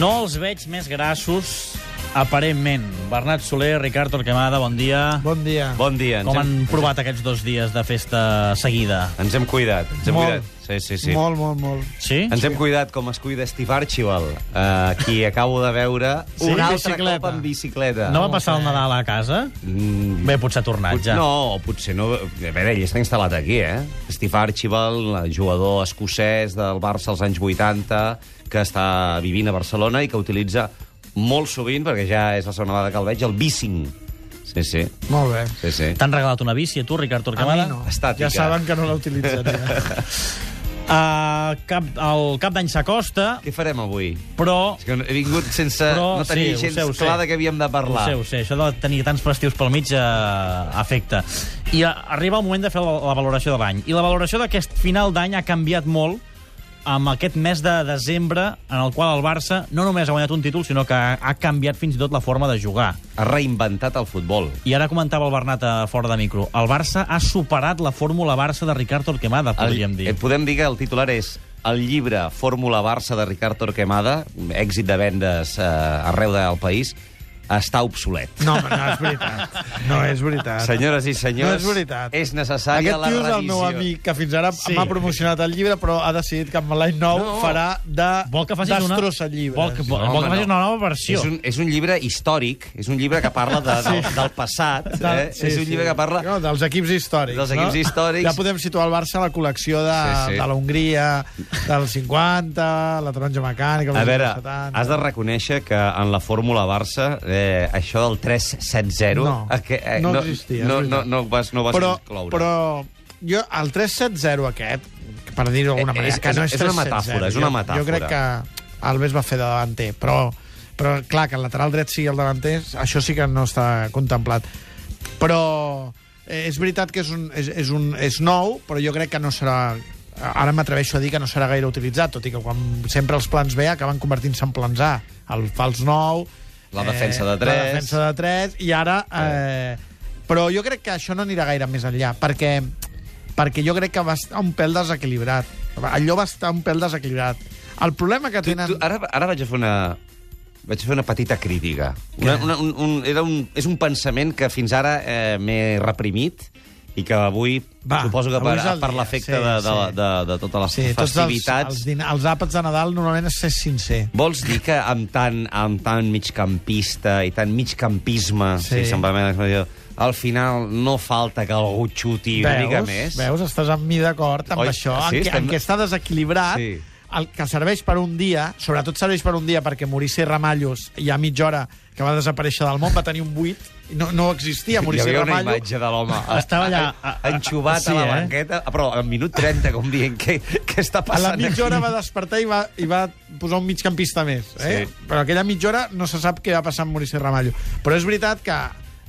els veig més grassos, aparentment. Bernat Soler, Ricard Torquemada, bon dia. Bon dia. Bon dia. Com hem, han provat aquests dos dies de festa seguida? ens hem cuidat. Ens hem Molt. cuidat. Sí, sí, sí. Molt, molt, molt. Sí? Ens hem cuidat com es cuida Steve Archibald, eh, qui acabo de veure Sí, un altre bicicleta. cop en bicicleta. No va passar el Nadal a casa? Mm, Bé, potser ha tornat pot- ja. No, o potser no... A veure, ell està instal·lat aquí, eh? Steve Archibald, el jugador escocès del Barça als anys 80, que està vivint a Barcelona i que utilitza molt sovint, perquè ja és la segona vegada que el veig, el bicing. Sí, sí, Molt bé. sí, sí. T'han regalat una bici, a tu, Ricard Torquemada? A mi no. Ja Estàtica. saben que no la utilitzaria. Uh, cap, el cap d'any s'acosta, Què farem avui? però... És que he vingut sense... Però, no tenia sí, ho gens sé, ho sé. clar de què havíem de Ho parlar. sé, ho sé, això de tenir tants festius pel mig eh, afecta. I a, arriba el moment de fer la, la valoració de l'any. I la valoració d'aquest final d'any ha canviat molt amb aquest mes de desembre en el qual el Barça no només ha guanyat un títol, sinó que ha, ha canviat fins i tot la forma de jugar. Ha reinventat el futbol. I ara comentava el Bernat a fora de micro. El Barça ha superat la fórmula Barça de Ricard Torquemada, podríem dir. Et podem dir que el titular és el llibre Fórmula Barça de Ricard Torquemada, èxit de vendes eh, arreu del país, està obsolet. No, home, no és veritat. No és veritat. Senyores i No senyors, és veritat. és necessària Aquest la tio és revisió. el meu amic que fins ara Sí. sí. m'ha promocionat el llibre, però ha decidit que amb l'any nou No. no. farà de Vol que facis una... destrossa llibres. Vol que, vol, No, vol home, que facis no. una nova versió. És un, és un llibre històric, és un llibre que parla de, sí. del, del passat, eh? Del- sí, és un sí. llibre que parla... No, dels equips històrics. Dels equips no? històrics. Ja podem situar el Barça a la col·lecció de, Sí, sí, sí. sí. de la Hongria, del 50, la taronja mecànica... A els veure, anys 70. has de reconèixer que en la fórmula Barça eh, això del 3-7-0 No, aqu- no existia, eh, No, és no, veritat. no, ho vas, no ho vas però, incloure. però jo, el 3-7-0 aquest, que per dir-ho d'alguna Eh, manera, és- que no és- és, és una 3-7-0, metàfora, és una jo- metàfora. Jo crec que Alves va fer de davanter, però, però clar, que el lateral dret sigui el davanter, això sí que no està contemplat. Però eh, és veritat que és, un, és, és, un, és nou, però jo crec que no serà ara m'atreveixo a dir que no serà gaire utilitzat, tot i que quan sempre els plans B acaben convertint-se en plans A. El fals 9... La defensa de La tres. defensa de 3 i ara... Eh, però jo crec que això no anirà gaire més enllà, perquè, perquè jo crec que va estar un pèl desequilibrat. Allò va estar un pèl desequilibrat. El problema que Tu, ah, tenen... tu, ara, ara vaig a fer una... Vaig a fer una petita crítica. Una, una, un, un, era un, és un pensament que fins ara eh, m'he reprimit i que avui, Va, suposo que avui per, és el per dia, l'efecte sí, de, de, sí. de, de totes les Sí, tots els, festivitats... els, din- els àpats de Nadal normalment és ser sincer. Vols dir que amb tant, amb tant migcampista i tant migcampisme, sí. Sí. si se'n va l'expressió, al final no falta que algú xuti una mica més? Veus? Estàs amb mi d'acord amb Oi, Oi, això. Sí, sí, en, estem- estem... en què està desequilibrat, Sí. sí. el que serveix per un dia, sobretot serveix per un dia perquè Maurici Ramallos, ja a mitja hora que va desaparèixer del món, va tenir un buit, i no, no existia Hi Maurici havia una Ramallo. imatge de l'home Estava allà, a- a- a- enxuvat sí, a la eh? banqueta, ah, però al minut 30, com dient, què, què està A la passant mitja hora va despertar i va, i va posar un migcampista més. Eh? Sí. Sí. Però aquella mitja hora no se sap què va passar amb Maurici Ramallo. Però és veritat que,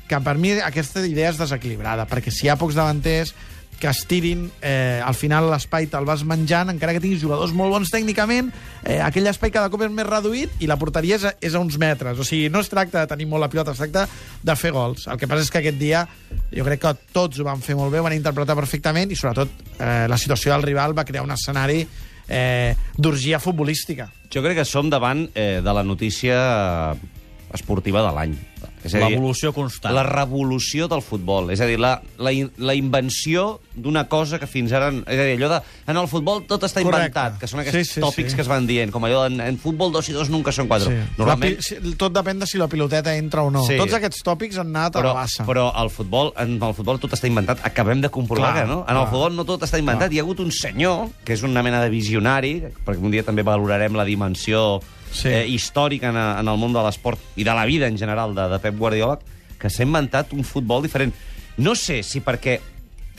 que per mi aquesta idea és desequilibrada, perquè si hi ha pocs davanters que estirin, eh, al final l'espai te'l vas menjant, encara que tinguis jugadors molt bons tècnicament, eh, aquell espai cada cop és més reduït i la porteria és a, és a uns metres. O sigui, no es tracta de tenir molt la pilota, es tracta de fer gols. El que passa és que aquest dia jo crec que tots ho van fer molt bé, ho van interpretar perfectament i sobretot eh, la situació del rival va crear un escenari eh, d'orgia futbolística. Jo crec que som davant eh, de la notícia eh, esportiva de l'any. És a dir, L'evolució constant. La revolució del futbol, és a dir, la, la, in- la invenció d'una cosa que fins ara... És a dir, allò de... En el futbol tot està Correcte. inventat, que són aquests Sí, sí, tòpics sí. que es van dient, com allò de, en, en futbol dos i dos nunca són quatre. Normalment... La, pi- si- tot depèn de si la piloteta entra o no. Sí. Sí. Tots aquests tòpics han anat però, a la bassa. però el futbol, en el futbol tot està inventat. Acabem de comprovar Clar, que no. En el clar. futbol no tot està inventat. Hi ha hagut un senyor, que és una mena de visionari, perquè un dia també valorarem la dimensió sí. Sí. eh, històrica en, en el món de l'esport i de la vida en general de, de Pep Guardiola, que s'ha inventat un futbol diferent. No sé si perquè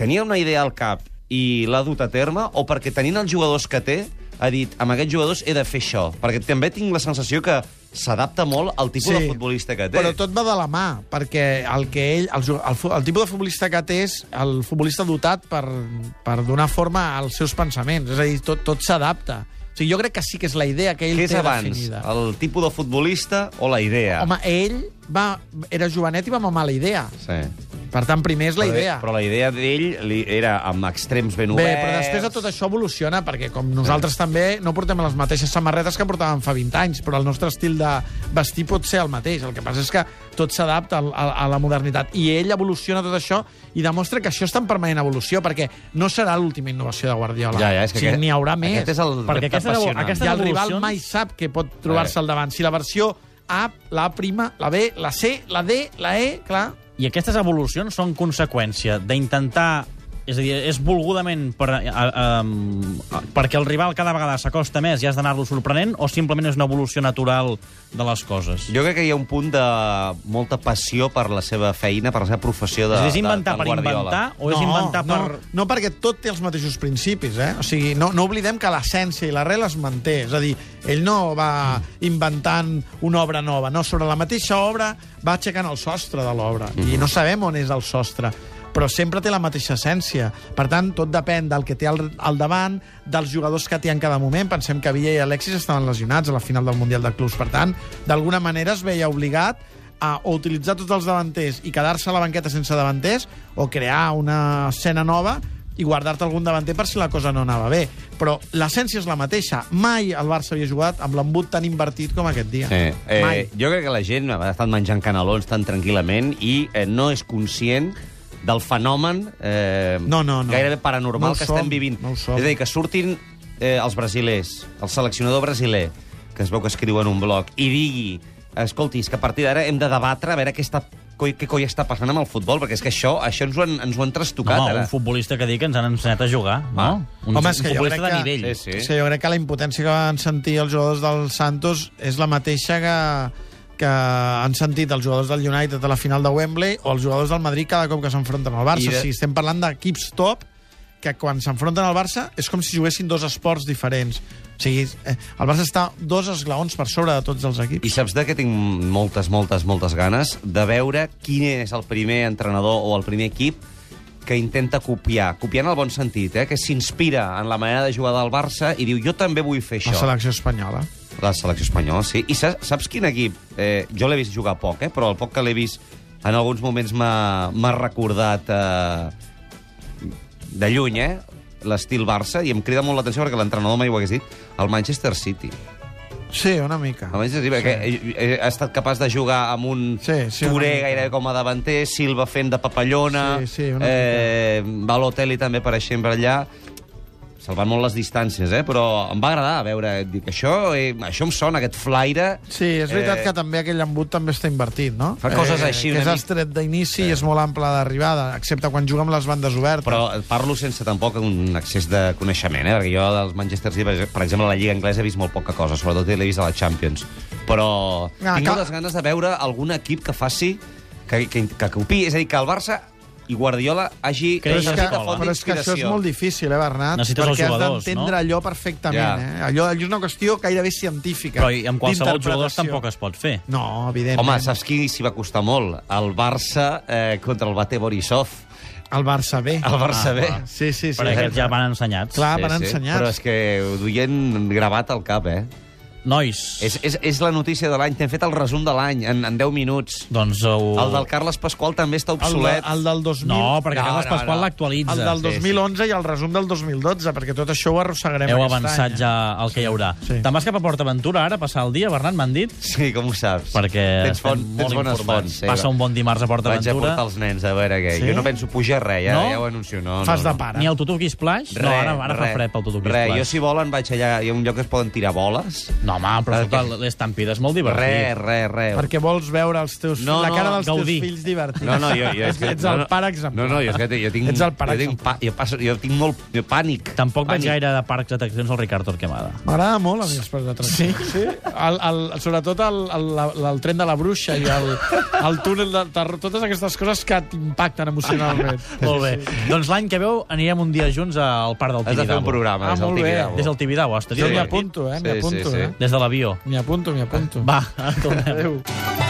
tenia una idea al cap i l'ha dut a terme, o perquè tenint els jugadors que té, ha dit, amb aquests jugadors he de fer això. Perquè també tinc la sensació que s'adapta molt al tipus de futbolista que té. Però tot va de la mà, perquè el que ell, el, ju- el, fu- el tipus de futbolista que té és el futbolista dotat per, per donar forma als seus pensaments. És a dir, tot, tot s'adapta. O sigui, jo crec que sí que és la idea que ell Què és té abans, definida. el tipus de futbolista o la idea? Home, ell va, era jovenet i va mamar la idea. Sí. Per tant, primer és la Però- idea. Però la idea d'ell li- era amb extrems ben oberts... Bé, però després de tot això evoluciona, perquè com nosaltres també no portem les mateixes samarretes que portàvem fa 20 anys, però el nostre estil de vestir pot ser el mateix. El que passa és que tot s'adapta al- a, a la modernitat. I ell evoluciona tot això i demostra que això està en permanent evolució, perquè no serà l'última innovació de Guardiola. Ja, ja, és que o sigui, aquest- n'hi haurà més. aquest és el Perquè repte aquesta era- apassionant. aquesta I el rival evolucions- mai sap què pot trobar-se Eh. al davant. Si la versió A, la A', la B, la C, la D, la E, clar... I aquestes evolucions són conseqüència d'intentar és a dir, és volgudament per, a, a, a, perquè el rival cada vegada s'acosta més i has d'anar-lo sorprenent o simplement és una evolució natural de les coses? Jo crec que hi ha un punt de molta passió per la seva feina, per la seva professió és de, a dir, és inventar de, del per Guardiola. inventar o és inventar no, per... No, perquè tot té els mateixos principis, eh? O sigui, no, no oblidem que l'essència i l'arrel es manté. És a dir, ell no va inventant una obra nova, no, sobre la mateixa obra va aixecant el sostre de l'obra. I no sabem on és el sostre però sempre té la mateixa essència. Per tant, tot depèn del que té al, al davant, dels jugadors que té en cada moment. Pensem que Villa i Alexis estaven lesionats a la final del Mundial de Clubs. Per tant, d'alguna manera es veia obligat a o utilitzar tots els davanters i quedar-se a la banqueta sense davanters o crear una escena nova i guardar-te algun davanter per si la cosa no anava bé. Però l'essència és la mateixa. Mai el Barça havia jugat amb l'embut tan invertit com aquest dia. Sí. Mai. Eh, jo crec que la gent ha estat menjant canelons tan tranquil·lament i eh, no és conscient del fenomen eh, No, no, no. gairebé paranormal No ho que som, estem vivint. no ho som. és a dir, que surtin eh, els brasilers, el seleccionador brasiler, que es veu que escriu en un blog, i digui, escolti, és que a partir d'ara hem de debatre a veure què està coi, què coi està passant amb el futbol, perquè és que això, això ens, ho han, ens ho han No, trastocat, home, ara. un futbolista que digui que ens han ensenyat a jugar, no? Ah. Un, Home, és un que jo futbolista crec de que- nivell. Sí, sí. Sí. sí, jo crec que la impotència que van sentir els jugadors del Santos és la mateixa que, que han sentit els jugadors del United a la final de Wembley o els jugadors del Madrid cada cop que s'enfronten al I Barça. de- De... O sigui, estem parlant d'equips top que quan s'enfronten al Barça és com si juguessin dos esports diferents. O sigui, eh, el Barça està dos esglaons per sobre de tots els equips. I saps de què tinc moltes, moltes, moltes ganes? De veure quin és el primer entrenador o el primer equip que intenta copiar, copiar en el bon sentit, eh? que s'inspira en la manera de jugar del Barça i diu, jo també vull fer La això. selecció espanyola. La selecció espanyola, sí. I saps, saps quin equip? Eh, jo l'he vist jugar poc, eh? però el poc que l'he vist en alguns moments m'ha m'ha recordat eh, de lluny, eh? l'estil Barça, i em crida molt l'atenció perquè l'entrenador mai ho hagués dit, el Manchester City. Sí, una mica. El Manchester City, perquè eh, eh, ha estat capaç de jugar amb un Sí, sí, una Touré mica. gairebé com a davanter, Silva fent de papallona, Sí, sí, una eh, Balotelli també, per exemple, allà. Salvant molt les distàncies, eh? però em va agradar veure, dic, això, eh, això em sona, aquest flaire... Sí, és veritat eh... Eh, que també aquell embut també està invertit, no? Eh, Fa coses així Que una és mica. estret d'inici i és molt ample d'arribada, excepte quan juga amb les bandes obertes. Però parlo sense tampoc un excés de coneixement, eh? perquè jo dels Manchester City, per- per exemple, a la Lliga Anglesa he vist molt poca cosa, sobretot l'he vist a la Champions. Però Ah, tinc cal- moltes ganes de veure algun equip que faci, que, que, que copi, és a dir, que el Barça i Guardiola hagi... Però és hagi que- de font però és que això és d'inspiració. molt difícil, eh, Bernat? Necessites els perquè jugadors, has d'entendre no? allò perfectament, Ja. eh? Allò, allò és una qüestió gairebé científica. Però i amb qualsevol jugador d'interpretació. tampoc es pot fer. No, evidentment. Home, saps qui s'hi va costar molt? El Barça eh, contra el Bate Borisov. El Barça B. El Barça Ah, B. clar. Sí, sí, sí. Però aquests ja van ensenyats. Clar, Ah, van ensenyats. Però és que ho duien gravat al cap, eh? Nois, És, és, és la notícia de l'any. T'hem fet el resum de l'any en, en 10 minuts. doncs... Ho... El del Carles Pasqual també està El, de, obsolet. el del 2000... No, perquè No, no, Carles no, Pasqual no. l'actualitza. El del Sí, sí. 2011 i el resum del 2012, perquè tot això ho arrossegarem Heu aquest avançat any. eh? ja el que hi haurà. Sí. Te'n vas cap a PortAventura ara, a passar el dia, Bernat, m'han dit? Sí, com ho saps? Perquè tens, estem font, molt tens bones informats. fonts. Passa un bon dimarts a Vaig a PortAventura. portar els nens a veure què. Sí? Jo no penso pujar res, ja, No? ja ho anuncio. No, Fas no, de no. pare. Ni el Tutuki Splash? no, ara, ara fa res, fred pel Tutuki res. Splash. Jo, si volen, vaig allà. Hi ha un lloc que es poden tirar boles. No, home, però Perquè- escolta, l'estampida és molt Res, divertit. res, res. Perquè vols veure els teus, No, la cara no, dels Gaudí. teus fills divertits. No, no, jo, jo és que, ets no, el no. pare exemplar. No, no, jo, és que jo tinc... Ets el pare jo tinc, pa, exemplar. jo, passo, jo tinc molt jo, pànic. Tampoc pànic. veig gaire de parcs d'atraccions al Ricard Torquemada. M'agrada molt a mi els parcs d'atracció. Sí? sí? El, el, sobretot el, el, el, el tren de la bruixa i el, el túnel de terror, totes aquestes coses que t'impacten emocionalment. Molt bé. Doncs l'any que veu anirem un dia junts al Parc del Has de fer Tibidabo. un programa Ah, des del molt bé. Tibidabo. Des del Tibidabo. Hasta Jo m'hi Sí. apunto, eh? M'hi Sí, sí, apunto, sí. eh? Des de l'avió. M'hi apunto, m'hi apunto. Va, tornem. Adéu.